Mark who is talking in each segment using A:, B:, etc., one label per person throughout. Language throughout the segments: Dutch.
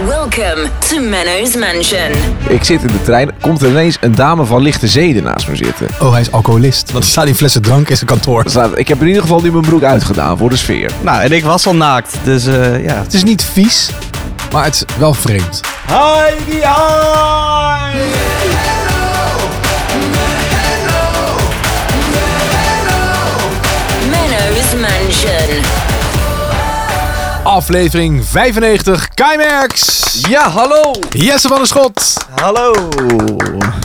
A: Welcome to Menno's Mansion.
B: Ik zit in de trein, komt er ineens een dame van lichte zeden naast me zitten.
C: Oh, hij is alcoholist. Want er staan die flessen drank in zijn kantoor.
B: Er staat- Ik heb in ieder geval nu mijn broek uitgedaan voor de sfeer.
D: Nou, en ik was al naakt, dus eh, ja.
C: Het is niet vies, maar het is wel vreemd.
D: Heidi hi!
A: Menno's Mansion.
C: Aflevering 95, Keimerks.
B: Ja, hallo!
C: E Jesse van der Schot.
D: Hallo!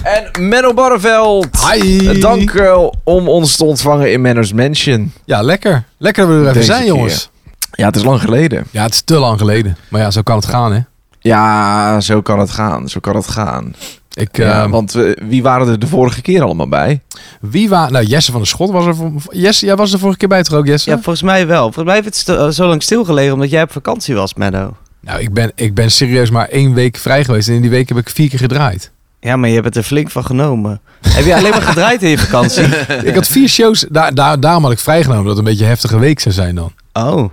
B: En Menno Barreveld!
C: Hi.
B: Eh, Dank eh, om ons te ontvangen in Manners Mansion.
C: Ja, lekker. Lekker dat we er even
B: Deze
C: zijn,
B: keer.
C: jongens.
B: Ja, het is lang geleden.
C: Ja, het is te lang geleden. Maar ja, zo kan het gaan, hè.
B: Ja, zo kan het gaan. Zo kan het gaan.
C: Ik,
B: Ja,
C: eh,
B: want we- wie waren er de vorige keer allemaal bij?
C: wie waren... Nou, Jesse van der Schot was er... voor- Jesse, jij was er vorige keer bij toch ook, Jesse?
D: Ja, volgens mij wel. Volgens mij heeft het st- eh, zo lang stilgelegen omdat jij op vakantie was, Menno.
C: Nou, ik ben, ik ben serieus maar één week vrij geweest. En in die week heb ik vier keer gedraaid.
D: Ja, maar je hebt het er flink van genomen. Heb je alleen maar gedraaid in je vakantie?
C: Ik had vier shows. Daar, daar, daarom had ik vrijgenomen dat het een beetje een heftige week zou zijn dan.
D: Oh.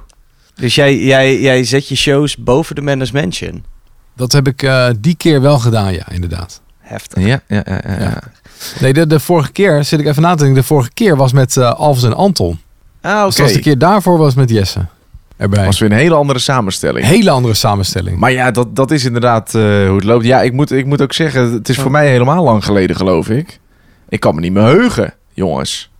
D: Dus jij, jij, jij zet je shows boven de Menno's Mansion.
C: Dat heb ik eh, die keer wel gedaan, ja, inderdaad.
D: Heftig.
B: Ja, ja, ja. ja, ja.
C: Nee, de, de vorige keer, zit ik even na te denken, de vorige keer was met eh Alves en Anton.
D: Ah,
C: Dus
D: oké.
C: als de keer daarvoor was met Jesse erbij.
B: was weer een hele andere samenstelling.
C: Hele andere samenstelling.
B: Maar ja, dat, dat is inderdaad eh, hoe het loopt. Ja, ik moet, ik moet ook zeggen, het is voor mij helemaal lang geleden, geloof ik. Ik kan me niet meer heugen, jongens.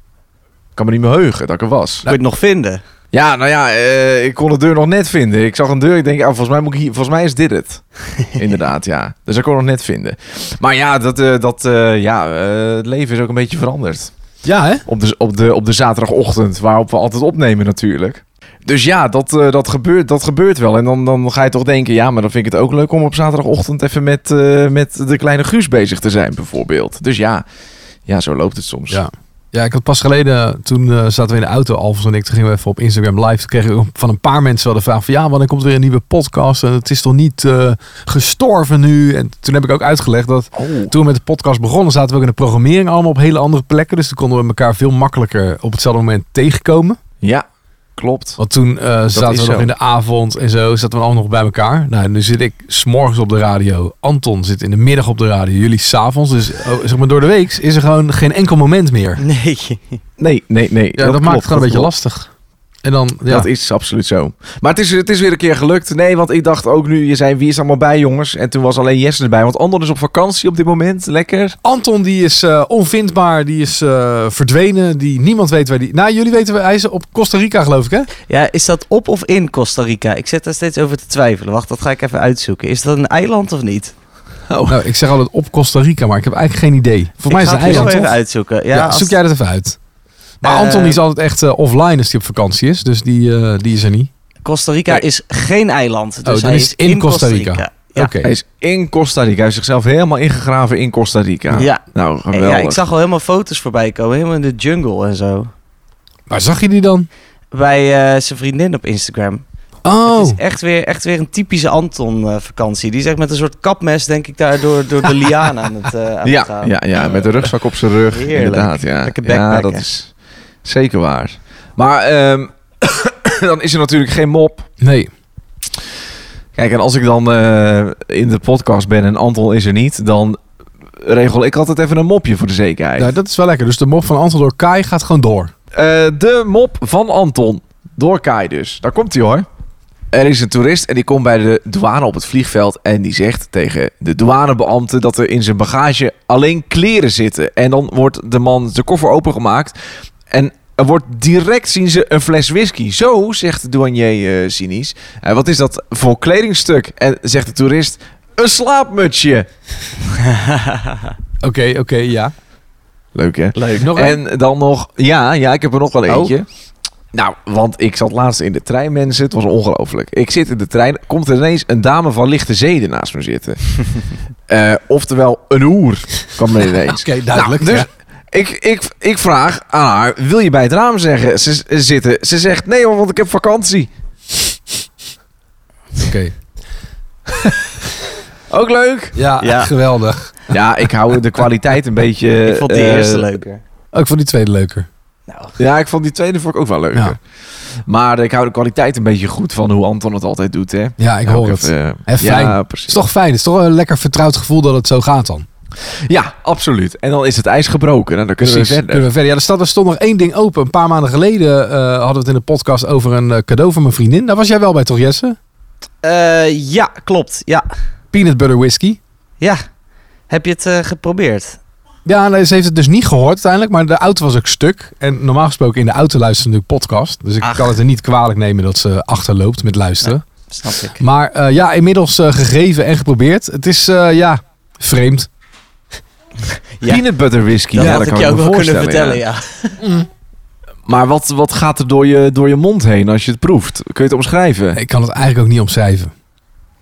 B: Ik kan me niet meer heugen dat ik er was.
D: Kun je het nog vinden?
B: Ja, nou ja, eh, ik kon de deur nog net vinden. Ik zag een deur, ik denk, ah, volgens, mij moet ik hier, volgens mij is dit het. Inderdaad, ja. Dus ik kon het nog net vinden. Maar ja, dat, eh, dat, eh, ja eh, het leven is ook een beetje veranderd.
C: Ja, hè?
B: Op de, op, de, op de zaterdagochtend, waarop we altijd opnemen natuurlijk. Dus ja, dat, eh, dat, gebeurt, dat gebeurt wel. En dan, dan ga je toch denken, ja, maar dan vind ik het ook leuk om op zaterdagochtend even met, eh, met de kleine Guus bezig te zijn, bijvoorbeeld. Dus ja, ja zo loopt het soms.
C: Ja. Ja, ik had pas geleden, toen eh, zaten we in de auto, Alves en ik, toen gingen we even op Instagram live. Toen kreeg ik van een paar mensen wel de vraag van, ja, wanneer komt er weer een nieuwe podcast? En het is toch niet eh, gestorven nu? En toen heb ik ook uitgelegd dat
B: Oh.
C: toen we met de podcast begonnen, zaten we ook in de programmering allemaal op hele andere plekken. Dus toen konden we elkaar veel makkelijker op hetzelfde moment tegenkomen.
B: ja klopt.
C: Want toen eh, zaten
B: is
C: we nog
B: zo.
C: in de avond en zo, zaten we allemaal nog bij elkaar. Nou, nu zit ik s'morgens op de radio. Anton zit in de middag op de radio. Jullie s'avonds. Dus oh, zeg maar door de week is er gewoon geen enkel moment meer.
D: Nee.
B: Nee, nee, nee.
C: Ja, dat, maakt het
B: klopt,
C: gewoon een beetje
B: dat
C: lastig. En dan, ja.
B: Dat is absoluut zo. Maar het is, het is weer een keer gelukt. Nee, want ik dacht ook nu, je zei wie is er allemaal bij jongens? En toen was alleen Jesse erbij. Want Andor is op vakantie op dit moment. Lekker.
C: Anton die is eh, onvindbaar, die is eh, verdwenen, die niemand weet waar die... Nou, jullie weten, hij is op Costa Rica geloof ik hè?
D: Ja, is dat op of in Costa Rica? Ik zit daar steeds over te twijfelen. Wacht, dat ga ik even uitzoeken. Is dat een eiland of niet?
C: Nou, ik zeg altijd op Costa Rica, maar ik heb eigenlijk geen idee. Voor mij
D: ik
C: is
D: ga
C: het een
D: het
C: eiland
D: heel even
C: toch?
D: uitzoeken. Ja,
C: Ja,
D: als-
C: zoek jij dat even uit. Maar Anton die is altijd echt eh, offline als hij op vakantie is, dus die, eh, die is er niet.
D: Costa Rica
B: Nee.
D: is geen eiland. Dus
C: dan
D: hij
C: is het in Costa
D: Ja.
C: Oké.
B: Hij is in Costa Rica. Hij heeft zichzelf helemaal ingegraven in Costa Rica.
D: Ja.
B: Nou,
D: En
B: geweldig.
D: ja, ik zag al helemaal foto's voorbij komen. Helemaal in de jungle en zo.
C: Waar zag je die dan?
D: Bij eh, zijn vriendin op Instagram. Het
C: Oh,
D: is echt weer, echt weer een typische Anton-vakantie. Die is echt met een soort kapmes, denk ik, daar door, door de liaan aan het, eh, aan het
B: ja,
D: gaan.
B: ja, ja, met de rugzak op zijn rug.
D: Heerlijk.
B: Inderdaad, ja.
D: Lekker
B: ja,
D: backpacken.
B: dat is zeker waar. Maar ehm, dan is er natuurlijk geen mop.
C: nee.
B: Kijk, en als ik dan eh, in de podcast ben en Anton is er niet, dan regel ik altijd even een mopje voor de zekerheid.
C: Nou, dat is wel lekker. Dus de mop van Anton door Kai gaat gewoon door.
B: Eh, de mop van Anton, door Kai dus. Daar komt hij hoor. Er is een toerist en die komt bij de douane op het vliegveld en die zegt tegen de douanebeambte dat er in zijn bagage alleen kleren zitten. En dan wordt de man de koffer opengemaakt en er wordt direct zien ze een fles whisky. Zo, zegt de douanier eh cynisch. Eh, wat is dat voor kledingstuk? En zegt de toerist, een slaapmutsje.
C: Oké, oké, ja.
B: Leuk hè?
C: Leuk. Nog een.
B: En dan nog, ja, ja, ik heb er nog wel
C: Oh.
B: eentje. Nou, want ik zat laatst in de trein, mensen. Het was ongelooflijk. Ik zit in de trein, komt er ineens een dame van lichte zeden naast me zitten. Eh, oftewel, een hoer kwam er ineens.
C: Oké, duidelijk.
B: Nou, dus
C: Ja.
B: ik, ik, ik vraag aan haar, wil je bij het raam zeggen, ze, ze zitten? Ze zegt, nee hoor, want ik heb vakantie.
C: Oké.
B: Ook leuk.
C: Ja,
D: Ja.
C: geweldig.
B: Ja, ik hou de kwaliteit een beetje...
D: Ik vond die
B: eh,
D: eerste leuker.
C: Ook voor die tweede leuker.
D: Nou,
B: Ja, ik vond die tweede vond ik ook wel leuker.
C: Ja.
B: Maar ik hou de kwaliteit een beetje goed van hoe Anton het altijd doet, hè.
C: Ja, ik hoor
B: Ook
C: het.
B: even, eh,
C: En fijn.
B: Ja,
C: Het is
B: precies.
C: toch fijn. Het is toch een lekker vertrouwd gevoel dat het zo gaat dan.
B: Ja, absoluut. En dan is het ijs gebroken. En dan kunnen
C: Precies.
B: we verder.
C: Kunnen we verder. Ja, er staat er stond nog één ding open. Een paar maanden geleden eh, hadden we het in de podcast over een eh, cadeau van mijn vriendin. Daar was jij wel bij toch, Jesse?
D: eh, ja, klopt. Ja,
C: Peanut butter whisky.
D: ja. Heb je het eh, geprobeerd?
C: Ja, nee, ze heeft het dus niet gehoord uiteindelijk, maar de auto was ook stuk. En normaal gesproken in de auto luisteren nu podcast. Dus ik
D: Ach.
C: kan het er niet kwalijk nemen dat ze achterloopt met luisteren.
D: Snap ik.
C: Maar eh, ja, inmiddels eh, gegeven en geprobeerd. Het is, eh, ja, vreemd.
D: Ja.
B: Peanut butter whisky.
D: Dat
B: ja,
D: had
B: dat
D: ik
B: kan
D: je ook
B: me
D: wel kunnen
B: voorstellen,
D: vertellen, ja.
B: Maar wat, wat gaat er door je, door je mond heen als je het proeft? Kun je het omschrijven?
C: Ik kan het eigenlijk ook niet omschrijven.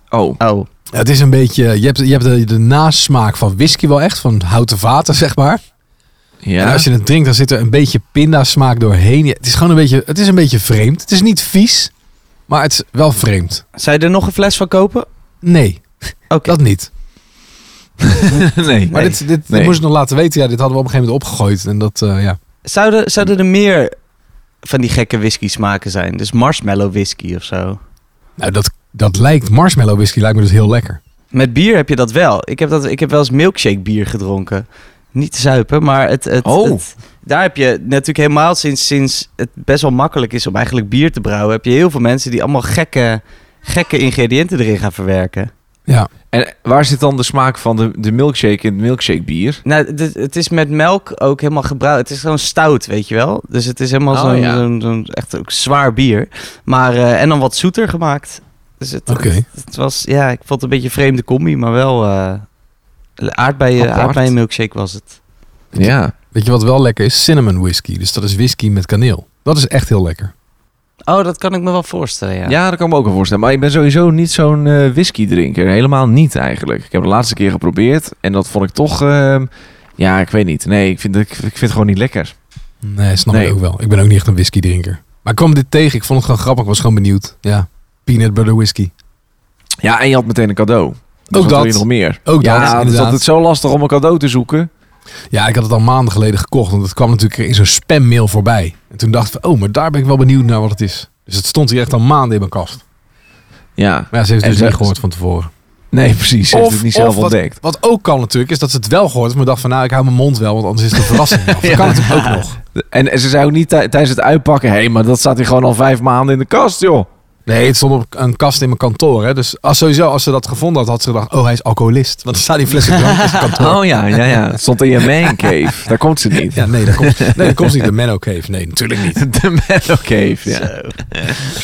B: Oh,
D: Oh,
C: Het is een beetje, je hebt, je hebt de, de nasmaak van whisky wel echt, van houten vaten zeg maar. En
B: ja.
C: als je het drinkt, dan zit er een beetje pindasmaak doorheen. Ja, het is gewoon een beetje, het is een beetje vreemd. Het is niet vies, maar het is wel vreemd.
D: zou je er nog een fles van kopen?
C: Nee,
D: Oké.
C: dat niet.
B: nee.
C: Maar
D: Nee.
C: dit, dit, dit
B: Nee.
C: moest ik nog laten weten. Ja, dit hadden we op een gegeven moment opgegooid. En dat, eh, ja.
D: Zouden, zouden er meer van die gekke whisky smaken zijn? Dus marshmallow whisky of zo.
C: Nou, dat, dat lijkt, marshmallow whisky lijkt me dus heel lekker.
D: Met bier heb je dat wel. Ik heb, dat, ik heb wel eens milkshake bier gedronken. Niet te zuipen, maar het, het,
B: Oh.
D: het- daar heb je natuurlijk helemaal sinds, sinds het best wel makkelijk is om eigenlijk bier te brouwen, heb je heel veel mensen die allemaal gekke, gekke ingrediënten erin gaan verwerken.
C: Ja,
B: En waar zit dan de smaak van de, de milkshake in het milkshake bier?
D: Nou, dit- het is met melk ook helemaal gebruikt. Het is gewoon stout, weet je wel. Dus het is helemaal
B: Oh,
D: zo'n,
B: ja.
D: zo'n- zo'n echt ook zwaar bier. Maar, eh, en dan wat zoeter gemaakt. Dus het,
C: oké.
D: het, het was, ja, ik vond het een beetje een vreemde combi, maar wel eh aardbeien,
B: Apart.
D: aardbeien milkshake was het.
B: Ja.
C: Weet je wat wel lekker is? Cinnamon whisky. Dus dat is whisky met kaneel. Dat is echt heel lekker.
D: Oh, dat kan ik me wel voorstellen, ja.
B: Ja. dat kan ik me ook wel voorstellen. Maar ik ben sowieso niet zo'n eh whisky drinker. Helemaal niet eigenlijk. Ik heb de laatste keer geprobeerd en dat vond ik toch... ehm, ja, ik weet niet. Nee, ik vind, het- ik, vind het gewoon niet lekker.
C: Nee, snap
B: Nee.
C: ik ook wel. Ik ben ook niet echt een whisky drinker. Maar ik kwam dit tegen. Ik vond het gewoon grappig. Ik was gewoon benieuwd. Ja, peanut butter whisky.
B: Ja, en je had meteen een cadeau. Dus
C: Ook
B: wat wil je
C: dat.
B: nog meer?
C: Ook
B: ja,
C: dat,
B: het is
C: inderdaad.
B: altijd zo lastig om een cadeau te zoeken.
C: Ja, ik had het al maanden geleden gekocht. Want het kwam natuurlijk in zo'n spammail voorbij. En toen dacht ik, oh, maar daar ben ik wel benieuwd naar wat het is. Dus het stond hier echt al maanden in mijn kast.
B: Ja,
C: Maar ja, ze heeft
B: En
C: het dus
B: ze-
C: niet gehoord van tevoren.
B: nee, precies. Ze heeft het niet zelf
C: wat,
B: ontdekt.
C: Wat ook kan natuurlijk, is dat ze het wel gehoord heeft, maar dacht van nou, ik hou mijn mond wel, want anders is het een verrassing. Dat kan natuurlijk ook nog.
B: En, en ze zei ook niet tij- tijdens het uitpakken... Hé, maar dat staat hier gewoon al vijf maanden in de kast, joh.
C: Nee, het stond op een kast in mijn kantoor. Hè. Dus als, sowieso, als ze dat gevonden had, had ze gedacht, oh, hij is alcoholist. Want er staat die fles drank in zijn kantoor.
B: Oh ja, ja, ja. Het stond in je man cave. Daar komt ze niet.
C: Ja, nee, dat komt, nee, dat komt niet. De Menno Cave. Nee, natuurlijk niet.
B: De Meadow Cave, ja.
D: Zo.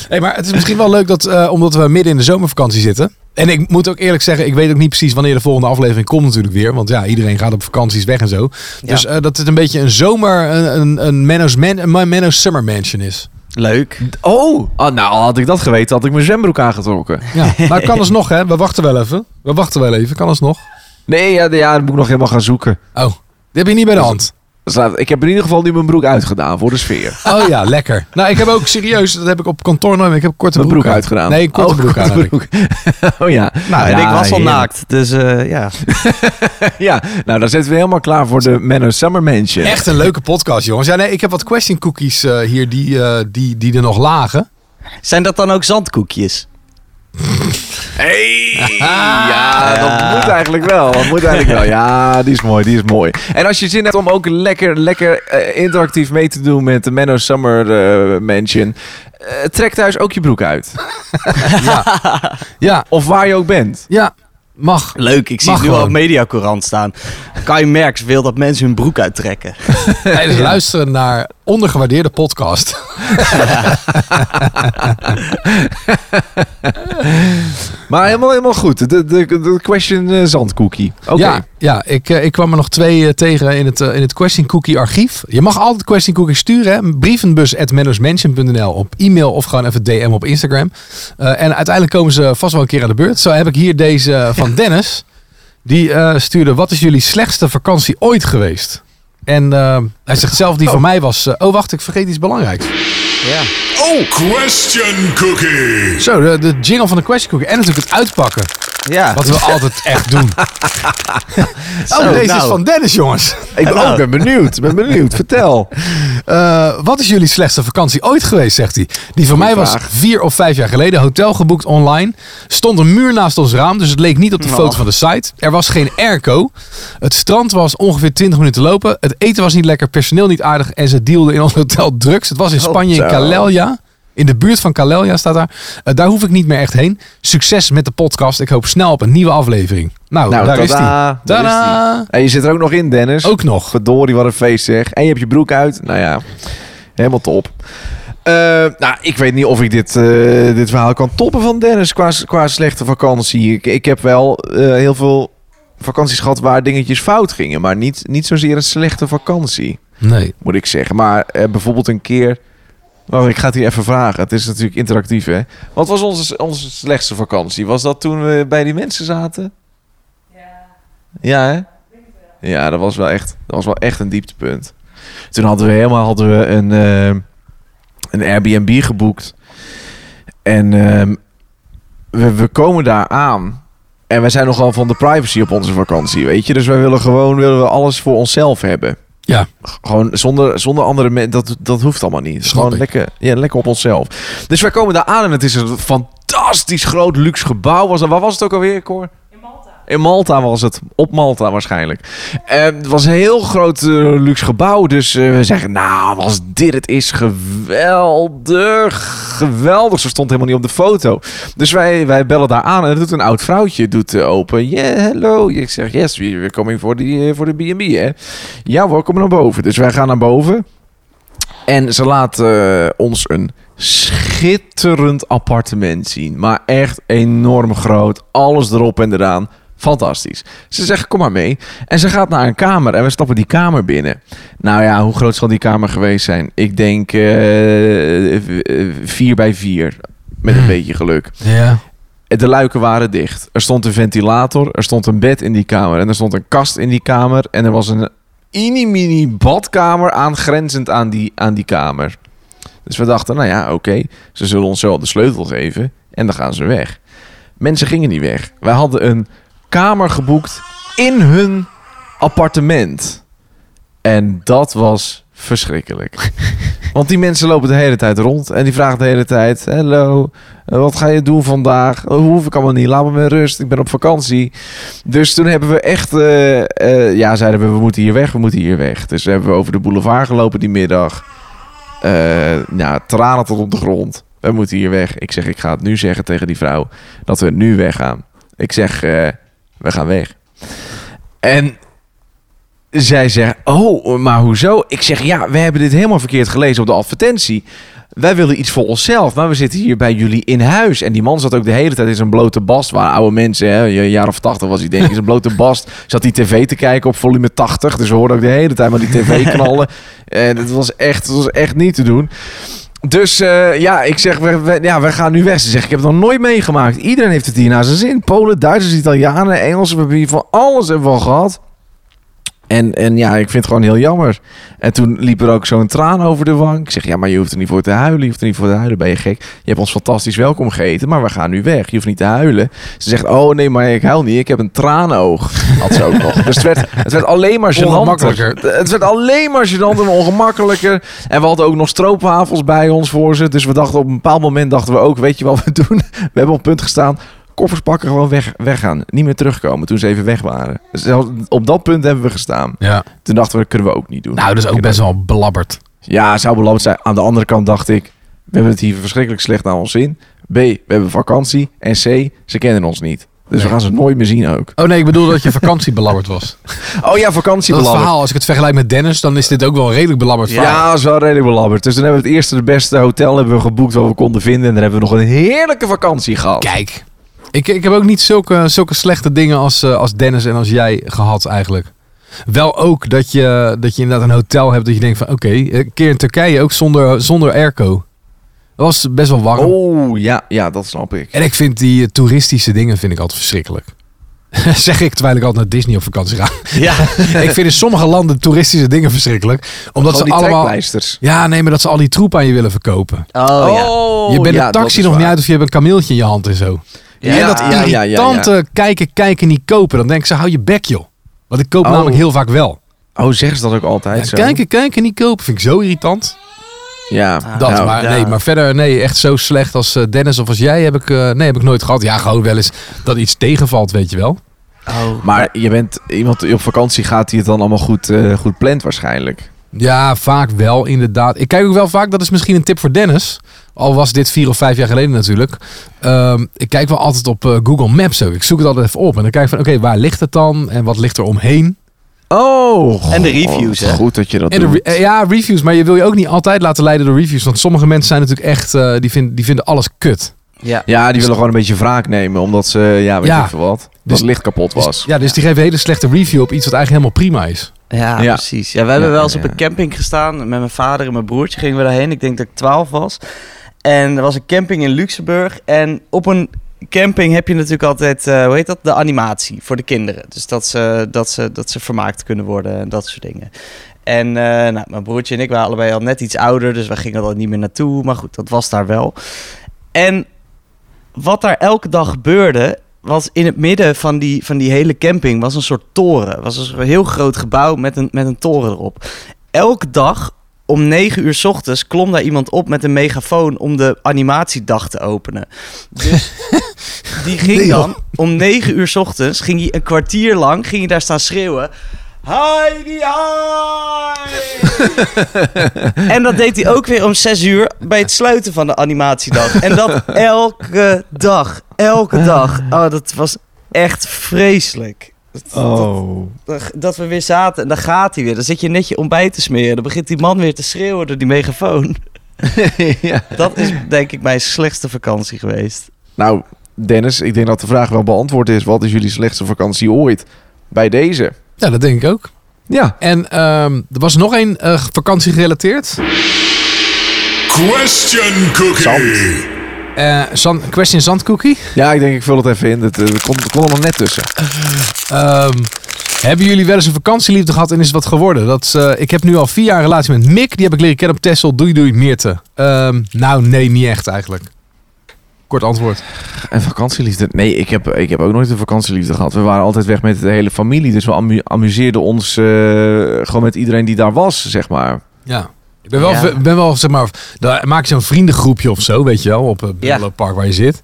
C: Hey, maar het is misschien wel leuk dat, eh, omdat we midden in de zomervakantie zitten. En ik moet ook eerlijk zeggen, ik weet ook niet precies wanneer de volgende aflevering komt natuurlijk weer. Want ja, iedereen gaat op vakanties weg en zo. Dus eh, dat het een beetje een zomer, een, een, een Menno's, man, een Menno's Summer Mansion is.
D: Leuk.
B: Oh, ah, nou had ik dat geweten, had ik mijn zwembroek aangetrokken.
C: Ja, nou kan alsnog hè. We wachten wel even. We wachten wel even, kan alsnog.
B: Nee, ja, ja, dat moet ik nog helemaal gaan zoeken.
C: Oh, die heb je niet bij de hand.
B: Dus laat- Ik heb in ieder geval nu mijn broek uitgedaan voor de sfeer.
C: Oh ja, lekker. Nou, ik heb ook serieus, dat heb ik op kantoor nooit meer. Ik heb korte
B: Mijn
C: broek,
B: broek
C: aan.
B: uitgedaan.
C: Nee, een korte
B: Oh,
C: broek aan. heb ik.
B: broek. oh ja.
D: Nou, en
B: Ja,
D: ik was al
B: heerlijk.
D: naakt, dus eh, ja.
B: Ja, nou dan zitten we helemaal klaar voor de Menno Summer Mansion.
C: Echt een leuke podcast, jongens. Ja, nee, ik heb wat question cookies eh, hier die, eh, die, die er nog lagen.
D: Zijn dat dan ook zandkoekjes?
B: Hey! Ja, dat moet eigenlijk wel. Dat moet eigenlijk wel. Ja, die is mooi, die is mooi. En als je zin hebt om ook lekker, lekker eh, interactief mee te doen met de Menno Summer eh, Mansion, eh, trek thuis ook je broek uit.
C: Ja,
B: Of waar je ook bent.
C: ja, mag.
D: Leuk, ik zie
C: Mag
D: het nu al op
C: gewoon.
D: Mediacourant staan. Kai Merks wil dat mensen hun broek uittrekken.
C: Tijdens luisteren naar ondergewaardeerde podcast.
B: Maar helemaal, helemaal goed. De, de, de question eh, zandcookie. Oké.
C: Ja, ja ik, eh, ik kwam er nog twee eh, tegen in het, eh, in het Question Cookie archief. Je mag altijd Question Cookie sturen. Hè? Brievenbus op e-mail of gewoon even DM op Instagram. Eh, en uiteindelijk komen ze vast wel een keer aan de beurt. Zo heb ik hier deze eh, van Dennis. Die eh, stuurde, wat is jullie slechtste vakantie ooit geweest? En eh, hij zegt zelf, die voor mij was... eh, oh, wacht, ik vergeet iets belangrijks.
D: Ja.
E: Oh, Question Cookie.
C: Zo, de, de jingle van de Question Cookie. En natuurlijk het uitpakken.
D: Ja.
C: Wat we altijd echt doen.
D: Zo,
C: oh, deze is
D: nou.
C: van Dennis, jongens.
B: Ik ben, oh, ik ben benieuwd. Ik ben benieuwd. Vertel.
C: Eh, wat is jullie slechtste vakantie ooit geweest, zegt hij. Die van mij was
B: vraag.
C: vier of vijf jaar geleden. Hotel geboekt online. Stond een muur naast ons raam, dus het leek niet op de
B: Oh.
C: foto van de site. Er was geen airco. Het strand was ongeveer 20 minuten lopen. Het eten was niet lekker, personeel niet aardig. En ze dealden in ons hotel drugs. Het was in Spanje, in
B: Oh, zo.
C: Calella. In de buurt van Calella staat daar. Eh, daar hoef ik niet meer echt heen. Succes met de podcast. Ik hoop snel op een nieuwe aflevering. Nou,
B: Nou,
C: daar is
B: tada,
C: die.
B: daar is die.
C: Tada!
B: En je zit er ook nog in, Dennis.
C: Ook nog.
B: Verdorie, wat een feest zeg. En je hebt je broek uit. Nou ja, helemaal top. Eh, nou, ik weet niet of ik dit, eh, dit verhaal kan toppen van Dennis qua, qua slechte vakantie. Ik, ik heb wel eh, heel veel vakanties gehad waar dingetjes fout gingen. Maar niet, niet zozeer een slechte vakantie,
C: Nee.
B: moet ik zeggen. Maar eh, bijvoorbeeld een keer... Oh, ik ga het hier even vragen. Het is natuurlijk interactief, hè. Wat was onze, onze slechtste vakantie? Was dat toen we bij die mensen zaten? Ja, hè? Ja, dat was wel echt, dat was wel echt een dieptepunt. Toen hadden we helemaal hadden we een, ehm, een Airbnb geboekt. En ehm, we, we komen daar aan. En wij zijn nogal van de privacy op onze vakantie, weet je. Dus wij willen gewoon willen we alles voor onszelf hebben.
C: Ja.
B: G- Gewoon zonder, zonder andere mensen. Dat, dat hoeft allemaal niet.
C: Snap
B: gewoon
C: ik.
B: lekker, ja, lekker op onszelf. Dus wij komen daar aan en het is een fantastisch groot luxe gebouw. Was dat, waar was het ook alweer, Cor? In Malta was het. Op Malta waarschijnlijk. Eh, het was een heel groot eh, luxe gebouw. Dus eh, we zeggen, nou, als dit het is, geweldig. Geweldig. Ze stond helemaal niet op de foto. Dus wij, wij bellen daar aan en er doet een oud vrouwtje doet, eh, open. Yeah, hello. Ik zeg, yes, we- we're coming voor die, eh, voor de B&B, hè. Ja, hoor, kom maar naar boven. Dus wij gaan naar boven. En ze laat eh, ons een schitterend appartement zien. Maar echt enorm groot. Alles erop en eraan. Fantastisch. Ze zegt, kom maar mee. En ze gaat naar een kamer en we stappen die kamer binnen. Nou ja, hoe groot zal die kamer geweest zijn? Ik denk eh, v- eh, vier bij vier. Met een
C: Hmm.
B: beetje geluk.
C: Ja.
B: De luiken waren dicht. Er stond een ventilator, er stond een bed in die kamer en er stond een kast in die kamer en er was een mini-mini badkamer aangrenzend aan die, aan die kamer. Dus we dachten, nou ja, oké, ze zullen ons zo al de sleutel geven en dan gaan ze weg. Mensen gingen niet weg. Wij hadden een kamer geboekt in hun appartement. En dat was verschrikkelijk. Want die mensen lopen de hele tijd rond en die vragen de hele tijd: Hallo, eh, Wat ga je doen vandaag? Oh, hoef ik allemaal niet. Laat me met rust. Ik ben op vakantie. Dus toen hebben we echt... eh, eh, ja, zeiden we, we moeten hier weg. We moeten hier weg. Dus hebben we over de boulevard gelopen die middag. Eh, nou, tranen tot op de grond. We moeten hier weg. Ik zeg, ik ga het nu zeggen tegen die vrouw. Dat we nu weggaan. Ik zeg, eh, we gaan weg. En zij zegt, oh, maar hoezo? Ik zeg, ja, we hebben dit helemaal verkeerd gelezen op de advertentie. Wij willen iets voor onszelf, maar we zitten hier bij jullie in huis. En die man zat ook de hele tijd in zijn blote bast. Waar oude mensen, hè, een jaar of tachtig was hij denk ik, in zijn blote bast. Zat die tv te kijken op volume 80. Dus we hoorden ook de hele tijd maar die tv knallen. En het was echt, het was echt niet te doen. Dus eh, ja, ik zeg, we, we- ja, we gaan nu weg. Ze zegt, ik heb het nog nooit meegemaakt. Iedereen heeft het hier naar zijn zin. Polen, Duitsers, Italianen, Engelsen, we hebben hier van alles hebben we al gehad. En, en ja, ik vind het gewoon heel jammer. En toen liep er ook zo'n traan over de wang. Ik zeg, ja, maar je hoeft er niet voor te huilen. Je hoeft er niet voor te huilen, ben je gek. Je hebt ons fantastisch welkom gegeten, maar we gaan nu weg. Je hoeft niet te huilen. Ze zegt, oh nee, maar ik huil niet. Ik heb een traanoog. Had ze ook nog. Dus het werd, het werd alleen maar
C: Ongemakkelijker.
B: gênanter. Het werd alleen maar gênant en ongemakkelijker. En we hadden ook nog stroopwafels bij ons voor ze. Dus we dachten op een bepaald moment dachten we ook, weet je wat we doen? We hebben op het punt gestaan. Koffers pakken, gewoon weg, weggaan. Niet meer terugkomen toen ze even weg waren. Dus zelfs op dat punt hebben we gestaan.
C: Ja.
B: Toen dachten we, dat kunnen we ook niet doen.
C: Nou, dat is ook best wel blabberd.
B: Ja, zou belabberd zijn. Aan de andere kant dacht ik, we hebben het hier verschrikkelijk slecht aan ons zin. B, we hebben vakantie. En C, ze kennen ons niet. Dus we
C: Nee.
B: gaan ze nooit meer zien ook.
C: Oh nee, ik bedoel dat je vakantie belabberd was.
B: Oh ja, vakantie
C: Dat
B: belabberd.
C: verhaal, als ik het vergelijk met Dennis, dan is dit ook wel een redelijk belabberd verhaal.
B: Ja, dat is wel redelijk belabberd. Dus dan hebben we het eerste de beste hotel hebben we geboekt wat we konden vinden. En dan hebben we nog een heerlijke vakantie gehad.
C: Kijk, ik, ik heb ook niet zulke, zulke slechte dingen als, eh, als Dennis en als jij gehad eigenlijk. Wel ook dat je, dat je inderdaad een hotel hebt dat je denkt van oké, een keer in Turkije ook zonder, zonder airco. Dat was best wel warm.
B: Oh, ja, ja, dat snap ik.
C: En ik vind die eh, toeristische dingen vind ik altijd verschrikkelijk. zeg ik terwijl ik altijd naar Disney op vakantie ga.
D: Ja.
C: ik vind in sommige landen toeristische dingen verschrikkelijk. Omdat
B: Gewoon
C: ze
B: die
C: allemaal...
B: trekpleisters.
C: Ja, nee, maar dat ze al die troep aan je willen verkopen.
D: Oh, ja.
B: Oh,
C: je bent
B: ja,
C: een
B: dat
C: taxi
B: is
C: nog niet
B: waar.
C: uit of je hebt een kameeltje in je hand en zo.
B: Ja,
C: en dat
B: ja, ja, ja, ja.
C: irritante kijken, kijken, niet kopen. Dan denk ik zo, hou je bek joh. Want ik koop
B: Oh.
C: namelijk heel vaak wel.
B: Oh, zeggen ze dat ook altijd
C: Ja,
B: zo?
C: kijken, kijken, niet kopen. Vind ik zo irritant.
B: Ja.
C: Dat,
B: nou,
C: maar,
D: ja.
C: nee, maar verder, nee, echt zo slecht als eh, Dennis of als jij heb ik, eh, nee, heb ik nooit gehad. Ja, gewoon wel eens dat iets tegenvalt, weet je wel.
D: Oh.
B: Maar je bent iemand die op vakantie gaat die het dan allemaal goed, eh, goed plant waarschijnlijk.
C: Ja, vaak wel, inderdaad. Ik kijk ook wel vaak, dat is misschien een tip voor Dennis. Al was dit vier of vijf jaar geleden natuurlijk. Ehm, ik kijk wel altijd op eh, Google Maps ook. Ik zoek het altijd even op. En dan kijk ik van, oké, waar ligt het dan? En wat ligt er omheen?
B: Oh.
D: En de reviews,
B: god,
D: hè?
B: Goed dat je dat
C: En de
B: doet.
C: re- eh, ja, reviews. Maar je wil je ook niet altijd laten leiden door reviews. Want sommige mensen zijn natuurlijk echt, eh, die, vinden, die vinden alles kut.
D: Ja.
B: Ja, die willen gewoon een beetje wraak nemen, omdat ze, ja, weet
C: Ja.
B: ik veel wat, dat
C: Dus-
B: het licht kapot
C: Dus-
B: was.
C: ja, dus die geven hele slechte review op iets wat eigenlijk helemaal prima is.
D: Ja,
B: Ja.
D: precies. Ja, we hebben
B: Ja,
D: wel eens
B: ja,
D: op een camping gestaan. Met mijn vader en mijn broertje gingen we daarheen. Ik denk dat ik 12 was. En er was een camping in Luxemburg. En op een camping heb je natuurlijk altijd, eh, hoe heet dat? De animatie voor de kinderen. Dus dat ze, dat ze, dat ze vermaakt kunnen worden en dat soort dingen. En eh, nou, mijn broertje en ik waren allebei al net iets ouder. Dus we gingen er al niet meer naartoe. Maar goed, dat was daar wel. En wat daar elke dag gebeurde, was in het midden van die, van die hele camping was een soort toren. Was een soort heel groot gebouw met een, met een toren erop. Elke dag om 9 uur 's ochtends klom daar iemand op met een megafoon om de animatiedag te openen. Dus die ging
C: Nee, joh.
D: dan om 9 uur 's ochtends, ging hij een kwartier lang, ging hij daar staan schreeuwen. Heidi, hi! En dat deed hij ook weer om 6 uur bij het sluiten van de animatiedag. En dat elke dag. Elke dag. Oh, dat was echt vreselijk.
B: Oh.
D: Dat- Dat we weer zaten en dan gaat hij weer. Dan zit je net je ontbijt te smeren. Dan begint die man weer te schreeuwen door die megafoon.
B: ja.
D: Dat is denk ik mijn slechtste vakantie geweest.
B: Nou, Dennis, ik denk dat de vraag wel beantwoord is. Wat is jullie slechtste vakantie ooit? Bij deze.
C: Ja, dat denk ik ook.
B: Ja.
C: En ehm, er was nog één eh, vakantie gerelateerd.
E: Question Cookie.
C: Eh, San, question Zandcookie.
B: Ja, ik denk ik vul het even in. Het, eh, het komt, het komt allemaal net tussen.
C: Ehm, hebben jullie wel eens een vakantieliefde gehad en is het wat geworden? Dat, eh, ik heb nu al vier jaar een relatie met Mick. Die heb ik leren kennen op Tessel. Doei doei Meerte. Ehm, nou nee, niet echt eigenlijk. Kort antwoord.
B: En vakantieliefde? Nee, ik heb, ik heb ook nooit een vakantieliefde gehad. We waren altijd weg met de hele familie. Dus we amu- amuseerden ons eh, gewoon met iedereen die daar was, zeg maar.
C: Ja. Ik ben wel,
D: Ja.
C: ben wel zeg maar, daar maak je zo'n vriendengroepje of zo, weet je wel, op het
D: Ja.
C: park waar je zit.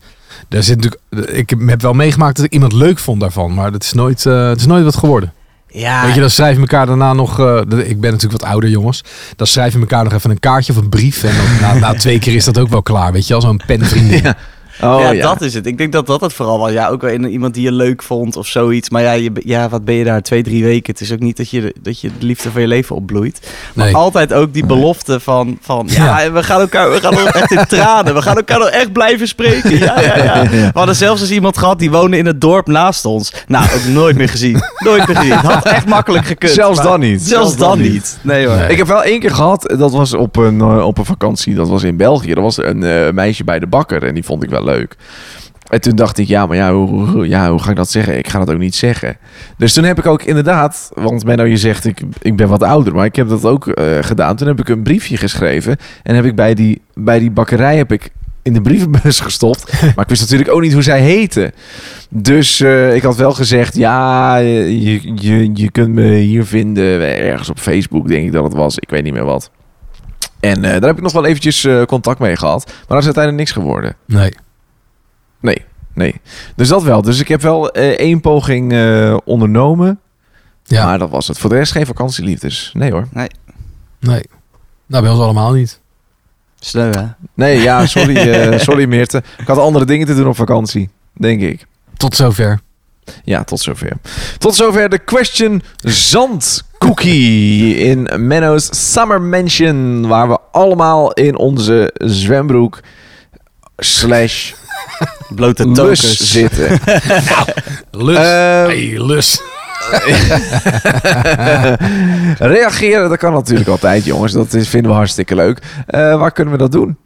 C: Daar zit natuurlijk, ik heb wel meegemaakt dat ik iemand leuk vond daarvan, maar dat is nooit, eh, het is nooit wat geworden.
D: Ja,
C: Weet je, dan schrijf je elkaar daarna nog. eh, de- ik ben natuurlijk wat ouder, jongens. Dan schrijf je elkaar nog even een kaartje of een brief. En dan, na, na twee keer is dat ook wel klaar. Weet je, als zo'n penvriendin. Ja.
B: Oh
D: ja, dat is het. Ik denk dat dat het vooral was. Ja, ook wel in iemand die je leuk vond of zoiets. Maar ja, je, be- ja wat ben je daar? Twee, drie weken. Het is ook niet dat je, de- dat je de liefde van je leven opbloeit. Maar
C: Nee.
D: altijd ook die belofte van... van ja,
C: Ja.
D: en we gaan elkaar we gaan nog echt in tranen. We gaan elkaar nog echt blijven spreken. Ja, ja, ja. We hadden zelfs eens iemand gehad die woonde in het dorp naast ons. Nou, ook nooit meer gezien. Nooit meer gezien. Had echt makkelijk gekund.
B: Zelfs
D: maar-
B: dan niet.
D: Zelfs dan niet. Nee hoor.
C: Nee.
B: Ik heb wel één keer gehad, dat was op een, eh, op een vakantie, dat was in België. Er was een eh, meisje bij de bakker en die vond ik wel leuk. En toen dacht ik, ja, maar ja hoe, hoe- hoe- ja, hoe ga ik dat zeggen? Ik ga dat ook niet zeggen. Dus toen heb ik ook inderdaad, want Menno, je zegt, ik, ik ben wat ouder, maar ik heb dat ook eh, gedaan. Toen heb ik een briefje geschreven en heb ik bij die, bij die bakkerij heb ik in de brievenbus gestopt. Maar ik wist natuurlijk ook niet hoe zij heette. Dus eh, ik had wel gezegd, ja, eh, je, je, je kunt me hier vinden. Ergens op Facebook denk ik dat het was. Ik weet niet meer wat. En eh, daar heb ik nog wel eventjes eh, contact mee gehad. Maar dat is uiteindelijk niks geworden.
C: Nee.
B: Nee, nee. Dus dat wel. Dus ik heb wel eh, één poging eh, ondernomen.
C: Ja.
B: Maar dat was het. Voor de rest geen vakantieliefdes. Nee hoor.
C: Nee. Nou, bij ons allemaal niet.
D: Sneu hè?
B: Nee, ja, sorry, eh, sorry Meerte. Ik had andere dingen te doen op vakantie. Denk ik.
C: Tot zover.
B: Ja, tot zover. Tot zover de question zandcookie in Menno's Summer Mansion. Waar we allemaal in onze zwembroek slash
D: Blote
B: lus
D: tokens.
B: zitten.
C: Lus.
B: Ehm,
C: hey, lus.
B: reageren, dat kan natuurlijk altijd jongens. Dat is, vinden we hartstikke leuk. Eh, waar kunnen we dat doen?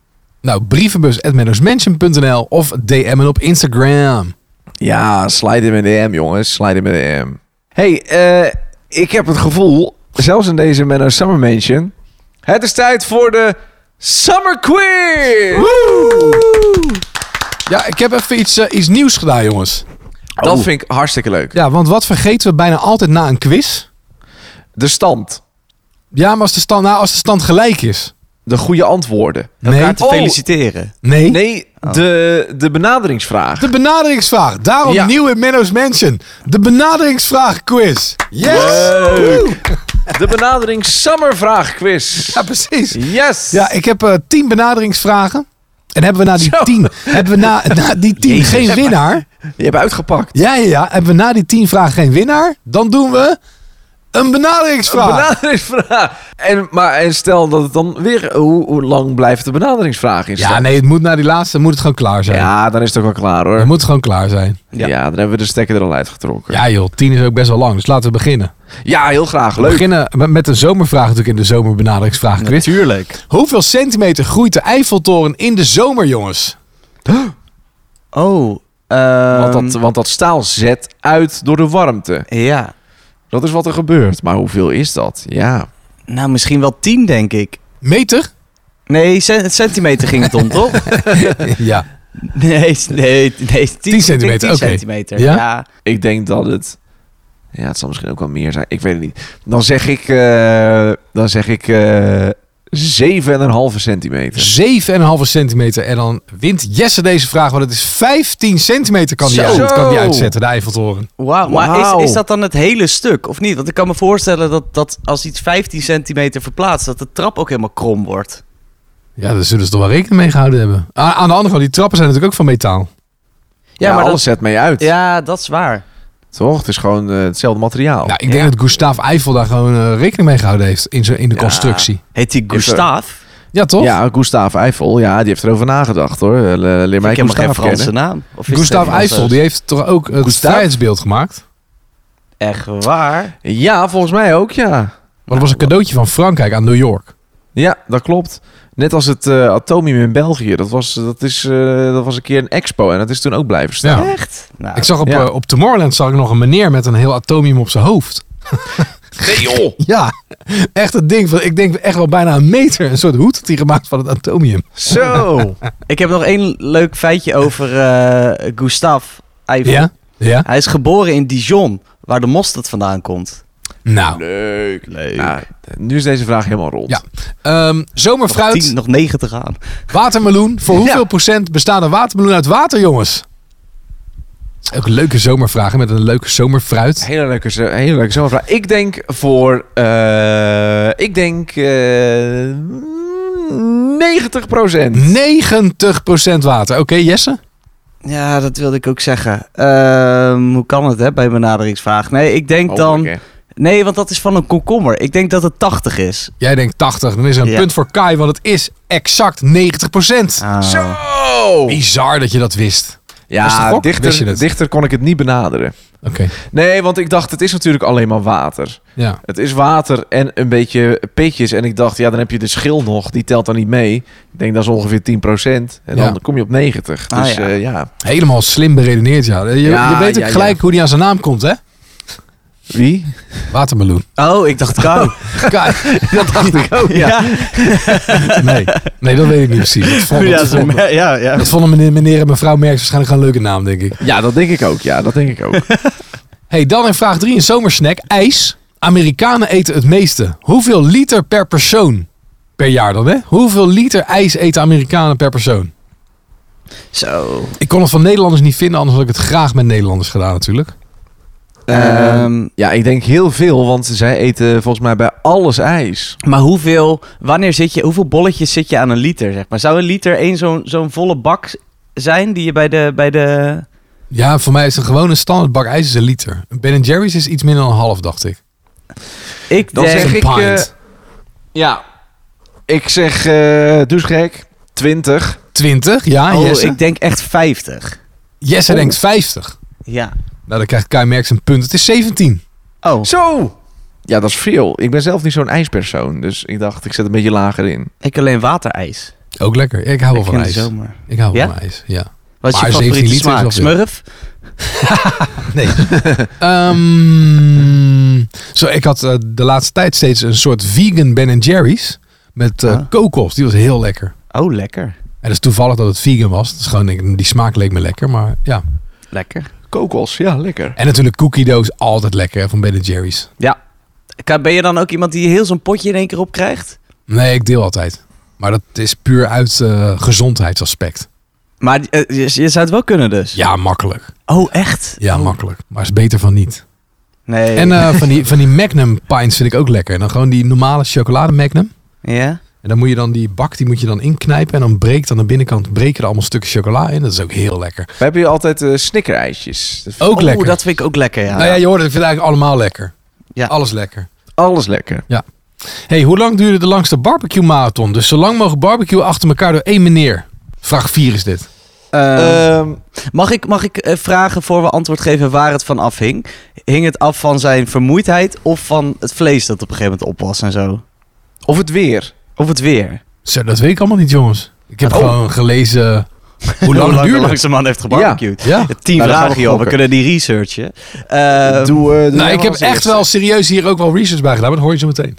C: Nou, brievenbus.mennosmansion.nl of DM'en op Instagram.
B: Ja, slide in mijn DM jongens. Slide in mijn DM. hey, eh, ik heb het gevoel, zelfs in deze Menno's Summer Mansion... Het is tijd voor de Summer Quiz!
C: Ja, ik heb even iets, eh, iets nieuws gedaan, jongens.
B: Dat vind ik hartstikke leuk.
C: Oh. Ja, want wat vergeten we bijna altijd na een quiz?
B: De stand.
C: Ja, maar als de stand, nou, als de stand gelijk is.
B: De goede antwoorden.
C: Nee,
D: Elkaar te
B: Oh.
D: feliciteren.
C: nee. Oh.
B: Nee, de, de benaderingsvraag.
C: De benaderingsvraag. Daarom
B: Ja.
C: nieuw in Menno's Mansion. De benaderingsvraag quiz. Yes!
B: Leuk. De benadering Summervraag quiz.
C: Ja, precies.
B: Yes.
C: Ja, ik heb eh, tien benaderingsvragen. En hebben we na die
B: Zo.
C: tien, hebben we na, na die tien geen winnaar?
B: Je hebt uitgepakt.
C: Ja, ja, ja. Hebben we na die tien vragen geen winnaar? Dan doen we een benaderingsvraag.
B: Benaderingsvraag. En, maar, en stel dat het dan weer... Hoe, hoe lang blijft de benaderingsvraag in
C: ja,
B: stand?
C: nee, het moet na die laatste moet het gewoon klaar zijn.
B: Ja, dan is het ook wel klaar
C: Het
B: hoor.
C: moet gewoon klaar zijn.
B: Ja. dan hebben we de stekker er al uitgetrokken.
C: Ja joh, tien is ook best wel lang. Dus laten we beginnen.
B: Ja, heel graag.
C: We
B: Leuk.
C: beginnen met- met de zomervraag natuurlijk in de zomerbenaderingsvraag. quiz.
D: Natuurlijk.
C: Hoeveel centimeter groeit de Eiffeltoren in de zomer, jongens?
D: Oh, ehm,
B: want, dat, want dat staal zet uit door de warmte.
D: ja.
B: Dat is wat er gebeurt. Maar hoeveel is dat? Ja.
D: Nou, misschien wel 10, denk ik.
C: Meter?
D: Nee, cen- centimeter ging het om, toch?
C: ja.
D: Nee, nee, nee. 10,
C: centimeter, oké.
D: centimeter,
C: Ja?
D: ja.
B: Ik denk dat het... Ja, het zal misschien ook wel meer zijn. Ik weet het niet. Dan zeg ik... eh dan zeg ik... eh 7,5 centimeter.
C: 7,5 centimeter. En dan wint Jesse deze vraag, want het is 15 centimeter kan die,
B: Zo.
C: uit- kan die uitzetten, de Eiffeltoren.
D: Wauw. Maar
B: Wauw.
D: is, is dat dan het hele stuk, of niet? Want ik kan me voorstellen dat, dat als iets 15 centimeter verplaatst, dat de trap ook helemaal krom wordt.
C: Ja, daar zullen ze toch wel rekening mee gehouden hebben. A- Aan, de andere kant, die trappen zijn natuurlijk ook van metaal.
B: Ja, maar alles
D: dat,
B: zet mee uit.
D: ja, dat is waar.
B: Toch? Het is gewoon eh, hetzelfde materiaal.
C: Nou, ik denk
D: Ja.
C: dat Gustav Eiffel daar gewoon eh, rekening mee gehouden heeft in, zijn- in de
B: Ja.
C: constructie.
D: Heet die Gustave?
C: Ja, toch?
B: Ja, Gustav Eiffel. Ja, die heeft erover nagedacht hoor. Eh, le- Leer mij
D: ik heb maar geen
B: Gustav
D: Franse
B: kennen.
D: naam. Of is het
C: Gustav
D: een Franse-
C: Eiffel, dus. die heeft toch ook het
B: Gustav?
C: vrijheidsbeeld gemaakt?
D: Echt waar?
B: Ja, volgens mij ook, ja.
C: Want dat was een cadeautje van Frankrijk aan New York.
B: Ja, dat klopt. Net als het eh, Atomium in België. Dat was, dat, is, eh, dat was een keer een expo en dat is toen ook blijven staan.
C: Ja.
D: Echt? Nou,
C: Ik zag op,
B: Ja.
C: eh, op Tomorrowland zag ik nog een meneer met een heel atomium op zijn hoofd.
B: Nee joh!
C: Ja, echt het ding. Van, ik denk echt wel bijna een meter. Een soort hoed had hij gemaakt van het atomium.
B: Zo!
D: ik heb nog één leuk feitje over eh Gustave Eiffel.
C: Ja? Ja?
D: Hij is geboren in Dijon, waar de mosterd vandaan komt.
C: Nou.
B: Leuk.
D: Leuk.
B: Nou, nu is deze vraag helemaal rond.
C: Ja. ehm,
D: nog,
C: zomerfruit,
D: 10, nog 90 aan.
C: watermeloen. Voor hoeveel
B: Ja.
C: procent bestaat een watermeloen uit water, jongens? Ook leuke zomervragen met een leuke zomerfruit.
B: Hele leuke, zo- hele leuke zomervraag. Ik denk voor... eh, ik denk... eh 90%.
C: 90% water. Oké, Jesse?
D: Ja, dat wilde ik ook zeggen. Ehm, hoe kan het, hè, bij benaderingsvraag? Nee, ik denk dan...
B: Oh, Oké.
D: Nee, want dat is van een komkommer. Ik denk dat het 80 is.
C: Jij denkt 80. Dan is er een
D: Ja. Ah.
C: punt voor Kai, want het is exact 90%. Ah.
B: Zo!
C: Bizar dat je dat wist. Was het een
B: Ja,
C: gok? Wist je
B: dichter,
C: het?
B: dichter kon ik het niet benaderen.
C: Oké.
B: Nee, want ik dacht, het is natuurlijk alleen maar water.
C: Ja.
B: Het is water en een beetje pitjes. En ik dacht, ja, dan heb je de schil nog. Die telt dan niet mee. Ik denk, dat is ongeveer 10 En
C: Ja.
B: dan kom je op 90. Dus
D: Ah,
B: ja.
D: ja.
B: ja.
C: Helemaal slim beredeneerd, ja. Je,
B: Ja,
C: je weet ook
B: ja,
C: gelijk hoe die aan zijn naam komt, hè?
B: Wie?
C: Watermeloen.
D: Oh, ik dacht kou.
C: Kai,
B: Dat dacht ik ook, Oh, ja.
D: ja.
C: nee. nee, dat weet ik niet precies. Dat vond,
D: Ja,
C: dat
D: zo-
C: vond-
D: ja, ja,
C: dat vonden meneer, meneer en mevrouw Merks waarschijnlijk gewoon een leuke naam, denk ik.
B: Ja, dat denk ik ook. Ja, dat denk ik ook.
C: hey, dan in vraag 3 een zomersnack. IJs. Amerikanen eten het meeste. Hoeveel liter per persoon? Per jaar dan, hè? Hoeveel liter ijs eten Amerikanen per persoon?
D: Zo.
C: Ik kon het van Nederlanders niet vinden, anders had ik het graag met Nederlanders gedaan natuurlijk.
D: Ehm,
B: ja, ik denk heel veel. Want zij eten volgens mij bij alles ijs.
D: maar hoeveel, wanneer zit je, hoeveel bolletjes zit je aan een liter, zeg maar? Zou een liter één zo'n zo'n volle bak zijn die je bij de, bij de...
C: Ja, voor mij is een gewone standaard bak ijs is een liter. Ben Jerry's is iets minder dan een half, dacht ik.
D: Ik eh,
B: Dan
D: denk...
B: zeg
C: Een
B: ik,
C: pint.
B: Ja. Ik zeg, eh dus gek, 20.
C: 20, ja.
D: oh,
C: Jesse,
D: ik oh. denk echt 50.
C: Jesse denkt 50.
D: Ja.
C: Nou, dan krijgt Kai Merks een punt. Het is 17.
D: Oh,
B: Zo! Ja, dat is veel. Ik ben zelf niet zo'n ijspersoon. Dus ik dacht, ik zet een beetje lager in.
D: ik alleen waterijs.
C: Ook lekker. Ik hou wel
D: Ik
C: van
D: in de
C: ijs.
D: zomer.
C: Ik hou wel
D: Ja?
C: van ijs, ja.
D: Wat is
C: Oh, Maar
D: je
C: 17
D: favoriete
C: liter is wel veel.
D: smaak? Smurf?
C: Nee. Ehm, zo, ik had eh, de laatste tijd steeds een soort vegan Ben Jerry's. Met eh,
D: Ah.
C: kokos. Die was heel lekker.
D: Oh, lekker.
C: dat is toevallig dat het vegan was. Dat is gewoon, denk ik, die smaak leek me lekker, maar ja.
D: Lekker.
B: Kokos, ja, lekker.
C: En natuurlijk cookie dough is altijd lekker van Ben Jerry's.
D: Ja. Ka- Ben je dan ook iemand die heel zo'n potje in één keer opkrijgt?
C: Nee, ik deel altijd. Maar dat is puur uit eh, gezondheidsaspect.
D: Maar eh, je, je zou het wel kunnen dus.
C: Ja, makkelijk.
D: Oh, echt?
C: Ja, makkelijk. Maar is beter van niet.
D: Nee.
C: En eh, van, die, van die Magnum pints vind ik ook lekker. En dan gewoon die normale chocolade Magnum.
D: ja?
C: En dan moet je dan die bak, die moet je dan inknijpen. En dan breekt aan de binnenkant breken er allemaal stukken chocola in. Dat is ook heel lekker.
B: We hebben hier altijd eh snickerijsjes. Dat vind
C: Ook
D: oh,
C: lekker.
D: dat vind ik ook lekker, ja.
C: Nou ja, je hoort het. Ik vind het eigenlijk allemaal lekker.
D: Ja.
C: Alles lekker.
B: ik
D: Oh.
B: Alles lekker.
C: hey, hoe lang duurde de langste barbecue marathon? Dus zo lang mogelijk barbecue achter elkaar door één meneer. Vraag 4 is dit.
B: Ehm,
D: Mag ik, mag ik eh, vragen voor we antwoord geven waar het van afhing? Hing het af van zijn vermoeidheid of van het vlees dat op een gegeven moment op was en zo?
B: of het weer.
D: Of het weer?
C: Zo, dat weet ik allemaal niet, jongens. Ik heb gewoon gelezen hoe lang het
D: Oh. de
C: duurde.
D: langste man heeft gebarbecued?
C: Ja.
D: Tien
B: Nou, dan gaan
D: vragen,
B: we
D: joh. We
B: gokken.
D: kunnen die researchen. Eh,
B: doe, eh, doe jij
C: Nou, ik
B: maar
C: heb
B: als
C: echt
B: eerste.
C: wel serieus hier ook wel research bij gedaan. Maar dat hoor je zo meteen.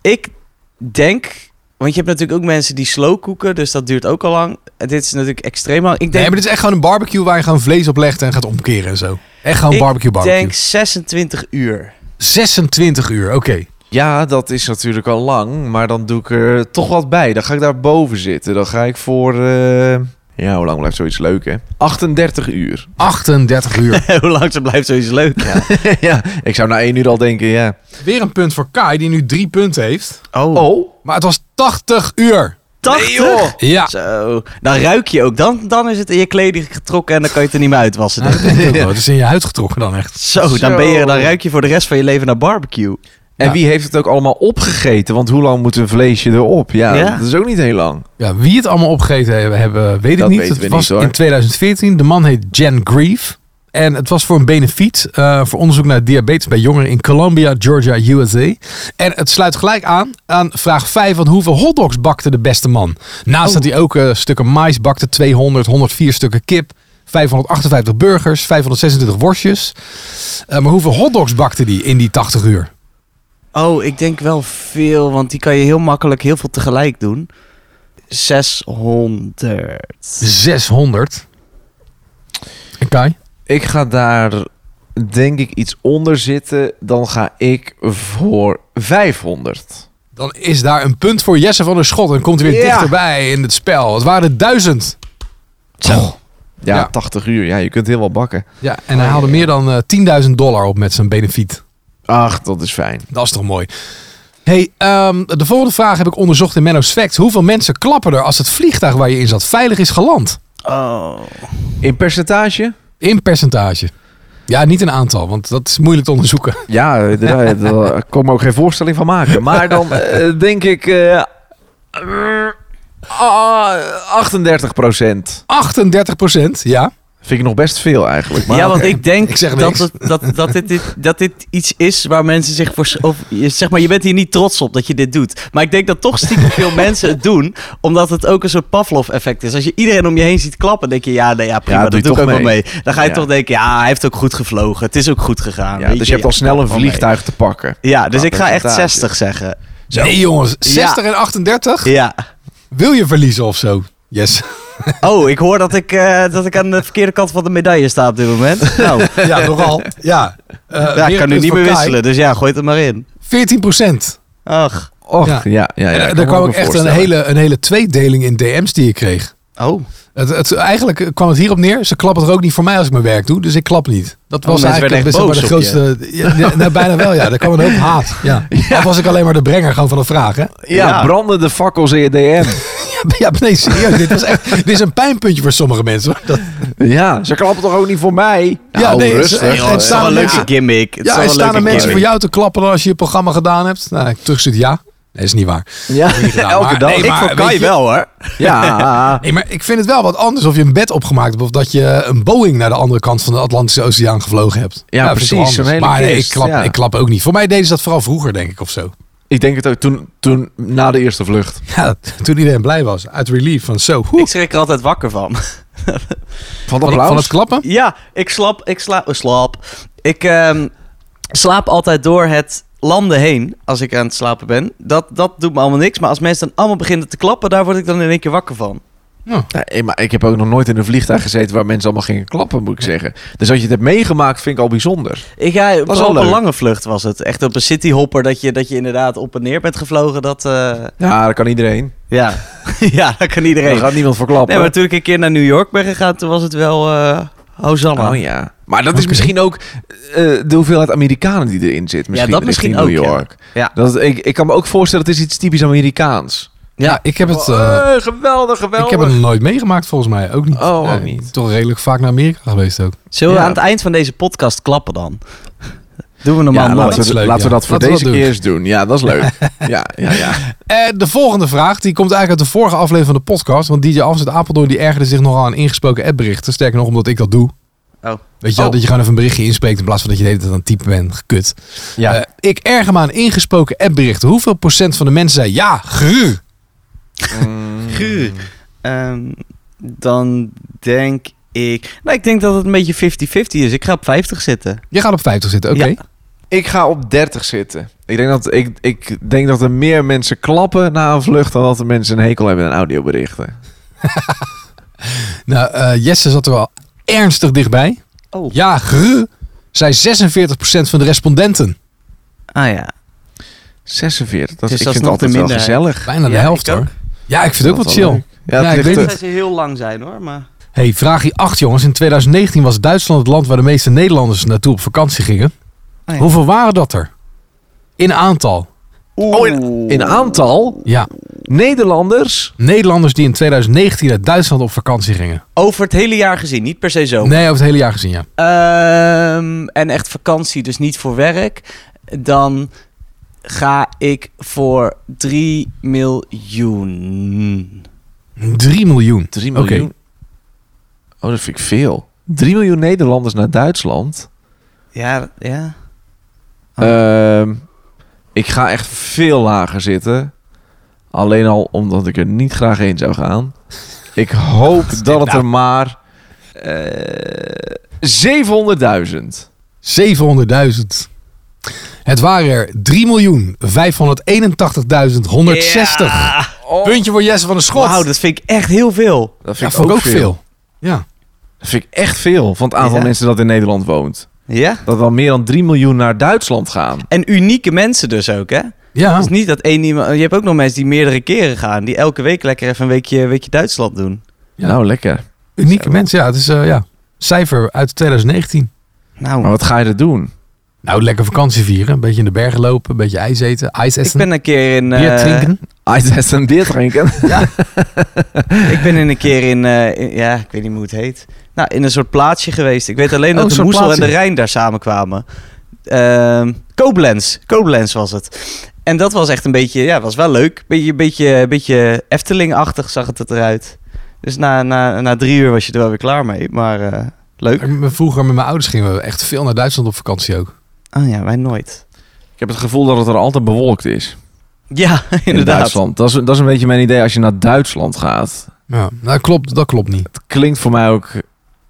D: ik denk... Want je hebt natuurlijk ook mensen die slow koeken, dus dat duurt ook al lang. Eh, Dit is natuurlijk extreem lang. Ik
C: Nee,
D: denk,
C: maar dit is echt gewoon een barbecue waar je gewoon vlees op legt en gaat omkeren en zo. Echt gewoon
D: Ik
C: barbecue barbecue.
D: denk 26 uur.
C: 26 uur, oké.
B: Ja, dat is natuurlijk al lang, maar dan doe ik er toch wat bij. Dan ga ik daar boven zitten. Dan ga ik voor... eh, Ja, hoe lang blijft zoiets leuk, hè? 38 uur.
C: 38 uur.
D: Hoe lang ze blijft sowieso leuk.
B: ja, ik zou na één uur al denken, ja.
C: Weer een punt voor Kai, die nu drie punten heeft.
B: Oh,
C: Maar het was 80 uur.
D: 80?
C: Ja.
D: Zo, dan ruik je ook. Dan, dan is het in je kleding getrokken en dan kan je het er niet meer uitwassen.
C: Nou,
D: denk ik.
C: Het is in je huid getrokken dan echt.
D: Zo, dan,
B: Zo.
D: ben je, dan ruik je voor de rest van je leven naar barbecue.
B: en
C: Ja.
B: wie heeft het ook allemaal opgegeten? Want hoe lang moet een vleesje erop? Ja,
D: Ja.
B: dat is ook niet heel lang.
C: Ja, wie het allemaal opgegeten hebben, hebben weet ik
B: Dat
C: niet.
B: weten
C: het
B: we
C: was
B: niet, hoor.
C: in 2014. De man heet Jan Grieve. En het was voor een benefiet eh, voor onderzoek naar diabetes bij jongeren in Columbia, Georgia, USA. En het sluit gelijk aan aan vraag 5 van hoeveel hotdogs bakte de beste man? Naast dat hij ook eh, stukken mais bakte, 200, 104 stukken kip, 558 burgers, 526 worstjes. Eh, maar hoeveel hotdogs bakte die in die 80 uur?
D: Oh, ik denk wel veel, want die kan je heel makkelijk heel veel tegelijk doen. 600.
C: 600. En Kai?
B: Ik ga daar denk ik iets onder zitten. Dan ga ik voor 500.
C: Dan is daar een punt voor Jesse van der Schot. En komt hij weer
B: Ja.
C: dichterbij in het spel. Het waren er duizend.
B: Ja,
C: Ja.
B: 80 uur. Ja, je kunt heel wat bakken.
C: Ja, en hij haalde meer dan eh 10.000 dollar op met zijn benefiet.
B: Ach, dat is fijn.
C: Dat is toch mooi. hey, ehm, de volgende vraag heb ik onderzocht in Menno's Facts. Hoeveel mensen klappen er als het vliegtuig waar je in zat veilig is geland?
D: Oh.
B: In percentage?
C: In percentage. Ja, niet in aantal, want dat is moeilijk te onderzoeken.
B: Ja, eh, daar, eh, daar kon ik me ook geen voorstelling van maken. Maar dan eh, denk ik... eh, eh, ah, 38 procent.
C: 38 procent, ja.
B: Vind ik nog best veel eigenlijk. Maar
D: ja, want ik denk
C: Ik zeg
D: dat,
C: niks.
D: het- dat, dat, dit, dit, dat dit iets is waar mensen zich voor... s- Of, je- zeg maar, je bent hier niet trots op dat je dit doet. Maar ik denk dat toch stiekem veel mensen het doen. Omdat het ook een soort Pavlov-effect is. Als je iedereen om je heen ziet klappen, denk je... Ja, nee, ja prima,
B: Ja,
D: dat doe,
B: doe je
D: ik ook
B: toch
D: wel
B: mee.
D: mee. Dan ga je
B: Ja.
D: toch denken... Ja, hij heeft ook goed gevlogen. Het is ook goed gegaan.
B: ja,
D: weet
B: dus je hebt al
D: ja,
B: snel een
D: wel mee.
B: vliegtuig te pakken.
D: Ja, dus
B: Qua
D: ik ga echt
B: percentage.
D: 60 zeggen.
C: Nee jongens, 60 en 38?
D: Ja.
C: Wil je verliezen of zo? Yes.
D: Oh, ik hoor dat ik, eh, dat ik aan de verkeerde kant van de medaille sta op dit moment. Nou,
C: Ja, nogal. Ja. Eh,
D: ja,
C: weer
D: ik kan
C: een
D: nu
C: punt
D: niet
C: voor
D: meer
C: Kai.
D: wisselen. Dus ja, gooi het er maar in.
C: 14 procent.
D: Ach.
B: Och,
C: Ja.
B: ja. ja, ja, ik kan
C: En, eh, er
B: me
C: kwam
B: ook
C: ook echt een
B: voorstellen.
C: hele, een hele tweedeling in DM's die ik kreeg.
D: Oh.
C: Het, het, eigenlijk kwam het hierop neer. Ze klappen er ook niet voor mij als ik mijn werk doe, dus ik klap niet. Dat was
D: mensen
C: eigenlijk
D: werden echt
C: best wel
D: boos
C: de
D: op
C: grootste. Ja, ja, nou, bijna wel, ja. Er kwam een hoop haat. Ja. Of was ik alleen maar de brenger gewoon van de vraag, hè?
B: Ja,
D: Ja.
B: brandende fakkels in je DM.
C: Ja, nee, serieus. dit, was echt, dit is een pijnpuntje voor sommige mensen. hoor. Dat,
B: Ja, ze klappen toch ook niet voor mij?
C: Ja, nee, ze-
D: Joh,
C: en
D: het is
C: staan
D: wel een
C: er
D: leuke
C: mensen-
D: gimmick. Het is
C: ja,
D: wel
C: en
D: een
C: staan
D: leuke
C: er mensen voor
D: gimmick.
C: jou te klappen als je je programma gedaan hebt? Nou, ik terugzit ja. Nee, is niet waar.
B: Ja,
C: niet gedaan,
B: elke
C: maar-
B: dag.
C: nee,
B: Ik
C: maar-
B: voor-
C: weet
D: Kan
C: je-
D: je wel hoor.
B: ja,
C: Nee, maar ik vind het wel wat anders of je een bed opgemaakt hebt of dat je een Boeing naar de andere kant van de Atlantische Oceaan gevlogen hebt. Nou,
B: Ja,
C: dat is wel
B: precies,
C: anders.
B: zo'n hele
C: maar nee, ik
B: kist,
C: klap,
B: ja.
C: ik klap ook niet. Voor mij deden ze dat vooral vroeger, denk ik, of zo.
B: ik denk het ook toen, toen na de eerste vlucht.
C: Ja, toen iedereen blij was. Uit relief van zo. hoe,
D: Ik schrik er altijd wakker van.
B: Van
C: van,
B: applaus?
C: van het klappen?
D: Ja, ik slap, ik eh, slaap, slap. Ik ehm, slaap altijd door het landen heen als ik aan het slapen ben. Dat, dat doet me allemaal niks. Maar als mensen dan allemaal beginnen te klappen, daar word ik dan in één keer wakker van.
B: Nee, eh, maar ik heb ook nog nooit in een vliegtuig gezeten waar mensen allemaal gingen klappen, moet ik zeggen. Dus dat je het hebt meegemaakt, vind ik al bijzonder.
D: Ik, ja,
B: Was
D: vooral
B: wel
D: op een
B: leuk.
D: lange vlucht was het. Echt op een cityhopper dat je, dat je inderdaad op en neer bent gevlogen. Dat, eh,
B: Ja, dat kan iedereen.
D: ja. ja, dat kan
B: Daar
D: iedereen.
B: gaat niemand voor klappen.
D: Nee, maar toen ik een keer naar New York ben gegaan, toen was het wel eh Hosanna.
B: Oh ja. Maar dat is
C: Oké.
B: misschien ook eh, de hoeveelheid Amerikanen die erin zit. Misschien
D: dat misschien
B: richting
D: ook,
B: New
D: ja.
B: York.
D: Ja.
B: Dat, ik, ik kan me ook voorstellen, dat is iets typisch Amerikaans.
C: Ja, ik heb het... eh,
B: Oh, geweldig,
C: ik
B: geweldig.
C: heb het nog nooit meegemaakt volgens mij. Ook niet.
B: Oh, ook
C: Nee,
B: niet.
C: Toch redelijk vaak naar Amerika geweest ook.
D: Zullen we
B: Ja.
D: aan het eind van deze podcast klappen dan? Doen we
B: Ja,
D: normaal nooit.
B: laten,
C: Dat
B: we,
C: is leuk,
B: laten we
C: ja.
B: dat voor
C: Laten we
B: deze
C: dat doen.
B: keer eens doen. Ja, dat is leuk. ja, ja, ja.
C: Eh, de volgende vraag, die komt eigenlijk uit de vorige aflevering van de podcast. Want DJ Afzet Apeldoorn die ergerde zich nogal aan ingesproken appberichten. Sterker nog, omdat ik dat doe.
D: Oh.
C: Weet je wel,
B: Oh.
C: dat je gewoon even een berichtje inspreekt in plaats van dat je de hele tijd aan het typen bent. Gekut.
D: Ja.
C: Eh, ik erger me aan ingesproken appberichten. Hoeveel procent van de mensen zei ja, gruur?
D: Guur. Ehm, dan denk ik... Nou, ik denk dat het een beetje 50-50 is. Ik ga op 50 zitten.
C: Je gaat op 50 zitten, oké.
D: Ja.
B: Ik ga op 30 zitten. Ik denk, dat, ik, ik denk dat er meer mensen klappen na een vlucht dan dat er mensen een hekel hebben aan audioberichten.
C: Nou, eh, Jesse zat er wel ernstig dichtbij.
D: Oh.
C: Ja, gruur, zei 46% van de respondenten.
D: Ah ja.
B: 46. Dat,
D: Dus
B: ik vind
D: dat is
B: het
D: nog
B: altijd
D: de
B: wel
D: minderheid.
B: gezellig.
C: Bijna de
D: Ja,
C: helft
D: ik ook.
C: hoor. Ja, ik vind het ook
B: Dat
C: wat
B: is wel
C: chill.
B: Ja,
C: Ja,
B: het
C: ik
B: ligt
C: weet
B: er-
D: Dat ze heel lang zijn hoor, maar...
C: Hey, vraagje 8 jongens. In 2019 was Duitsland het land waar de meeste Nederlanders naartoe op vakantie gingen.
D: Ah, ja.
C: Hoeveel waren dat er? In aantal.
B: Oh, in, in aantal
C: Ja,
B: Nederlanders.
C: Nederlanders die in 2019 naar Duitsland op vakantie gingen.
D: Over het hele jaar gezien, niet per se zo.
C: Nee, over het hele jaar gezien, ja.
D: Ehm, en echt vakantie, dus niet voor werk. Dan ga ik voor 3 miljoen.
C: 3 miljoen.
B: 3
C: Oké.
B: miljoen. Oh, dat vind ik veel. 3 miljoen Nederlanders naar Duitsland.
D: Ja, ja.
B: Ehm, ik ga echt veel lager zitten. Alleen al omdat ik er niet graag heen zou gaan. Ik hoop dat het
C: nou?
B: er maar eh 700.000.
C: 700.000. Het waren er 3 miljoen 581.160.
D: Ja. oh.
C: Puntje voor Jesse van de Schot.
D: Wauw, dat vind ik echt heel veel.
B: Dat
C: ja,
B: vind
C: vond
B: ik ook veel.
C: Ja.
B: Dat vind ik echt veel van het aantal
D: Ja.
B: mensen dat in Nederland woont.
D: Ja?
B: Dat wel meer dan 3 miljoen naar Duitsland gaan.
D: En unieke mensen dus ook, hè?
C: Ja.
D: Dus niet dat één iemand... Je hebt ook nog mensen die meerdere keren gaan. Die elke week lekker even een weekje, weekje Duitsland doen.
C: Ja.
B: Nou, lekker.
C: Unieke mensen, ja. Het is, eh, ja. Cijfer uit 2019.
D: Nou,
B: Maar wat ga je er doen?
C: Nou, lekker vakantie vieren. Een beetje in de bergen lopen. Een beetje ijs eten. Ijs
D: ik
C: essen.
D: ben een keer in... eh,
C: bier drinken.
B: IJs en beer drinken.
D: Ik ben in een keer in, eh, in- ja, ik weet niet hoe het heet. Nou, in een soort plaatsje geweest. Ik weet alleen
C: Oh,
D: dat
C: een
D: de
C: soort
D: Moesel en
C: plaatsje.
D: de Rijn daar samenkwamen. Ehm Koblenz. Koblenz was het. En dat was echt een beetje, ja, was wel leuk. Beetje, beetje, beetje Efteling-achtig zag het eruit. Dus na, na, na drie uur was je er wel weer klaar mee. Maar eh, leuk.
C: Ik ben Vroeger met mijn ouders gingen we echt veel naar Duitsland op vakantie ook.
D: Ah ja, wij nooit.
B: Ik heb het gevoel dat het er altijd bewolkt is.
D: Ja,
B: In
D: inderdaad.
B: Duitsland. Dat is, dat is een beetje mijn idee als je naar Duitsland gaat.
C: Ja, nou, klopt, dat klopt niet.
B: Het klinkt voor mij ook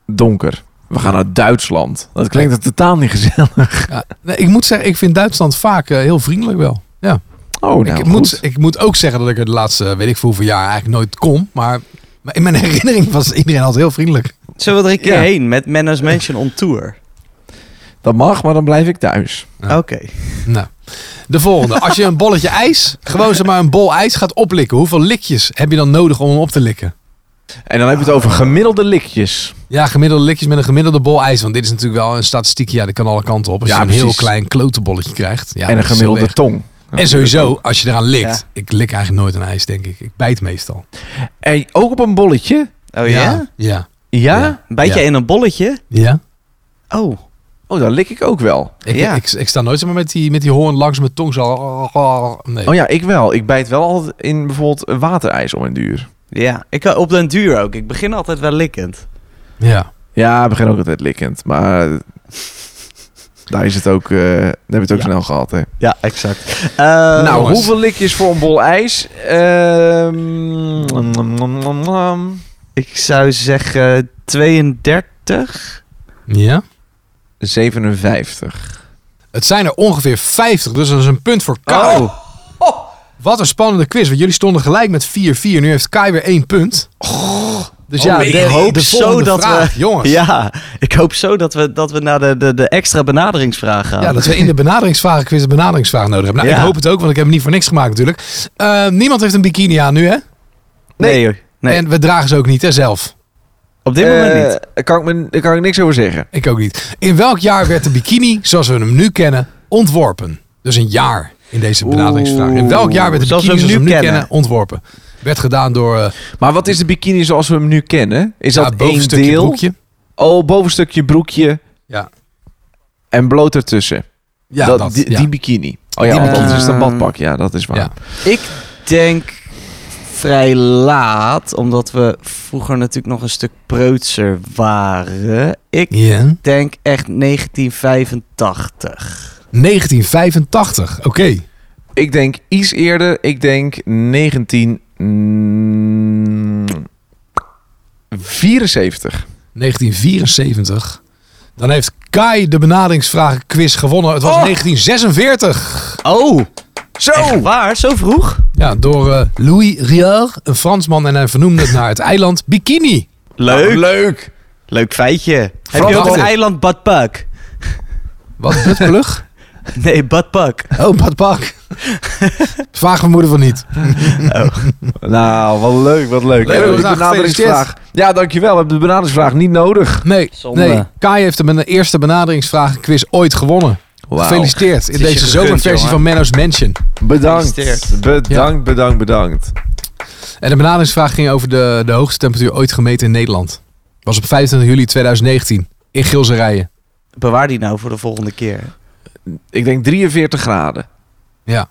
B: donker. We gaan naar Duitsland. Dat klinkt totaal niet gezellig.
C: Ja, nee, ik moet zeggen, ik vind Duitsland vaak eh, heel vriendelijk wel. Ja.
B: Oh, nou
C: ik,
B: goed.
C: moet, ik moet ook zeggen dat ik er de laatste, weet ik veel hoeveel jaar, eigenlijk nooit kom. Maar, maar in mijn herinnering was iedereen altijd heel vriendelijk.
D: Zullen we er een keer
B: Ja.
D: heen met Manners Mansion on Tour?
B: Dat mag, maar dan blijf ik thuis.
C: Ja.
D: Oké.
C: Nou, de volgende. Als je een bolletje ijs, gewoon zeg maar een bol ijs gaat oplikken. Hoeveel likjes heb je dan nodig om hem op te likken?
B: En dan heb je het
C: Ah.
B: over gemiddelde likjes.
C: Ja, gemiddelde likjes met een gemiddelde bol ijs. Want dit is natuurlijk wel een statistiek. Ja, dat kan alle kanten op. Als
B: Ja,
C: je een heel
B: precies.
C: klein klotenbolletje krijgt. Ja,
B: en een
C: dat is heel
B: gemiddelde
C: erg.
B: tong.
C: En sowieso, als je eraan likt.
D: Ja.
C: Ik lik eigenlijk nooit een ijs, denk ik. Ik bijt meestal.
B: En ook op een bolletje?
D: Oh ja?
C: Ja.
B: Ja?
C: Ja.
D: Bijt jij
C: Ja.
D: in een bolletje?
C: Ja.
D: Oh.
B: Oh, dan lik ik ook wel.
C: Ik,
D: Ja.
C: ik, ik sta nooit zomaar met die, met die hoorn langs mijn tong zo. Nee.
B: Oh ja, ik wel. Ik bijt wel altijd in bijvoorbeeld waterijs om een duur.
D: Ja, ik, eh, op den duur ook. Ik begin altijd wel likkend.
C: ja.
B: Ja, ik begin ook altijd likkend. Maar daar is het ook... eh, daar heb je het ook
D: Ja.
B: snel gehad, hè?
D: Ja, exact. Eh,
B: nou,
C: jongens.
B: hoeveel likjes voor een bol ijs? Ehm, nom, nom, nom, nom.
D: ik zou zeggen 32.
C: Ja.
B: 57.
C: Het zijn er ongeveer 50, dus dat is een punt voor Karel.
B: Oh.
C: Wat een spannende quiz. Want jullie stonden gelijk met 4-4. Nu heeft Kai weer één punt. dus ja,
D: Oh,
C: de, de volgende vraag,
D: we...
C: Jongens. Ja.
D: Ja, ik hoop zo dat we, dat we naar de, de, de extra benaderingsvraag gaan.
C: dat we in de benaderingsvraag quiz de benaderingsvraag nodig hebben. Nou,
D: Ja.
C: ik hoop het ook, want ik heb hem niet voor niks gemaakt natuurlijk. Eh, niemand heeft een bikini aan nu, hè?
D: nee, joh. Nee,
C: En we dragen ze ook niet, hè, zelf.
D: op dit moment
B: Eh,
D: niet.
B: Daar kan, ik me- daar kan ik niks over zeggen.
C: Ik ook niet. In welk jaar werd de bikini, zoals we hem nu kennen, ontworpen? Dus een jaar in deze benaderingsvraag. In welk jaar werd de
D: Oeh, zoals
C: bikini,
D: we hem
C: zoals we hem nu
D: nu
C: kennen,
D: kennen,
C: ontworpen? Werd gedaan door eh
B: Maar wat is de bikini zoals we hem nu kennen? Is
C: ja,
B: dat één
C: bovenstukje
B: deel?
C: broekje.
B: Oh, bovenstukje broekje
C: Ja,
B: en bloot ertussen.
C: ja,
B: dat,
C: dat,
B: die,
C: ja.
B: die bikini. Oh ja,
C: Die
B: want
D: bikini.
B: anders is het een badpak. Ja, dat is waar.
C: Ja.
D: Eh, Ik denk vrij laat, omdat we vroeger natuurlijk nog een stuk preutser waren. Ik
C: Ja.
D: denk echt 1985.
C: 1985, oké.
B: Ik denk iets eerder. Ik denk mm, 1974.
C: 1974. Dan heeft Kai de benaderingsvragenquiz gewonnen. Het was
B: Oh.
C: 1946.
D: Oh,
B: Zo!
D: echt waar? Zo vroeg?
C: Ja, door eh, Louis Riard, een Fransman. En hij vernoemde het naar het eiland Bikini.
D: Leuk.
B: Oh, leuk.
D: Leuk feitje. Heb
B: Vooral
D: je ook
B: dat-
D: het eiland Badpak?
C: Wat, butplug?
D: Nee, Badpak.
C: Oh, padpak. Vraag mijn moeder van niet.
B: Nou, wat leuk, wat leuk.
C: Leuk,
B: Hebben we
C: nou,
B: die benaderingsvraag. Ja, dankjewel. We hebben de benaderingsvraag niet nodig.
C: Nee,
D: Zonde.
C: nee. Kai heeft de eerste benaderingsvragenquiz ooit gewonnen. Gefeliciteerd in
D: Het is je
C: deze
D: gegund,
C: zomerversie
D: jongen.
C: van Menno's Mansion.
B: Bedankt.
D: Gefeliciteerd.
B: Bedankt, bedankt, bedankt.
C: En de benaderingsvraag ging over de, de hoogste temperatuur ooit gemeten in Nederland. Was op 25 juli 2019 in Gilserijen.
D: Bewaar die nou voor de volgende keer.
B: Ik denk 43 graden.
C: Ja,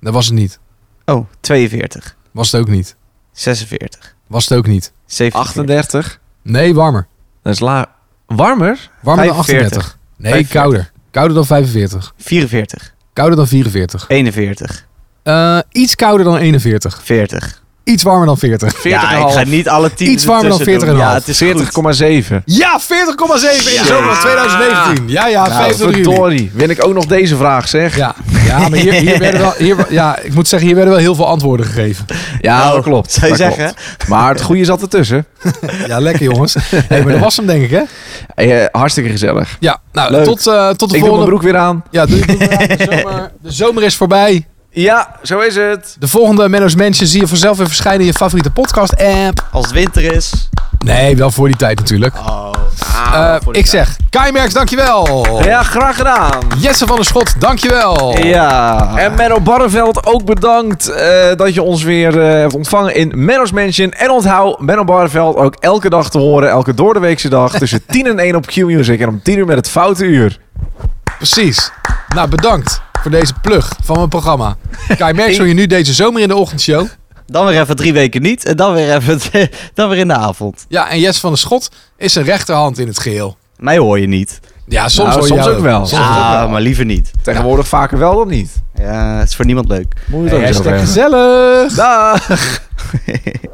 C: dat was het niet.
D: Oh, 42,
C: Was het ook niet.
D: 46,
C: Was het ook niet.
D: 47.
B: 38.
C: Nee, warmer.
B: Dat is laag. Warmer?
C: Warmer
D: 45.
C: dan 38. Nee,
D: 45.
C: kouder. Kouder dan 45.
D: 44,
C: Kouder dan 44.
D: 41,
C: Eh, iets kouder dan 41.
D: 40.
C: Iets warmer dan 40.
B: 40,5.
D: Ja, ik ga niet alle tien
C: Iets warmer dan
D: ertussen doen.
C: 40,5.
D: Ja, het is 40,
B: 40,7.
C: Ja, 40,7 in de zomer van 2019. Ja, ja,
B: Nou,
C: 50 juli.
B: verdorie. Win ik ook nog deze vraag, zeg.
C: Ja, ja, maar hier, hier werden wel, hier, ja, ik moet zeggen, hier werden wel heel veel antwoorden gegeven.
B: Ja,
D: Nou,
B: dat klopt.
D: zou je
B: dat
D: zeggen?
B: klopt. Maar het goede zat ertussen.
C: Ja, lekker jongens. Hey, maar dat was hem denk ik, hè?
B: Eh, hartstikke gezellig.
C: Ja, nou,
B: Leuk.
C: tot, eh, tot de
B: Ik doe mijn
C: volgende.
B: broek weer aan.
C: Ja, doe je broek maar aan. de, zomer, de zomer is voorbij.
B: Ja, zo is het.
C: De volgende Menno's Mensen zie je vanzelf weer verschijnen in je favoriete podcast-app.
D: als het winter is.
C: Nee, wel voor die tijd natuurlijk.
D: Oh,
C: Eh,
B: Ah,
C: ik zeg, Kai Merks, dankjewel.
B: Ja, graag gedaan.
C: Jesse van der Schot, dankjewel.
D: Ja.
B: En Menno Barreveld, ook bedankt eh, dat je ons weer eh, hebt ontvangen in Menno's Mansion. En onthoud Menno Barreveld ook elke dag te horen, elke doordeweekse dag, tussen 10 en 1 op Q-Music en om 10 uur met het Foute Uur.
C: Precies. Nou, bedankt voor deze plug van mijn programma. Kai Merks hoor je nu deze zomer in de ochtendshow.
D: Dan weer even drie weken niet. En dan weer, even, dan weer in de avond.
C: Ja, en Jesse van der Schot is zijn rechterhand in het geheel.
D: Mij hoor je niet.
C: Ja, soms,
B: Nou,
C: hoor je
B: soms
C: jou
B: ook wel.
C: Soms-
D: Ah, maar liever niet.
B: Tegenwoordig vaker wel dan niet.
D: Ja, het is voor niemand leuk.
B: Moet je
C: Hey,
B: het ook zo zeggen.
C: hashtag gezellig.
B: Dag!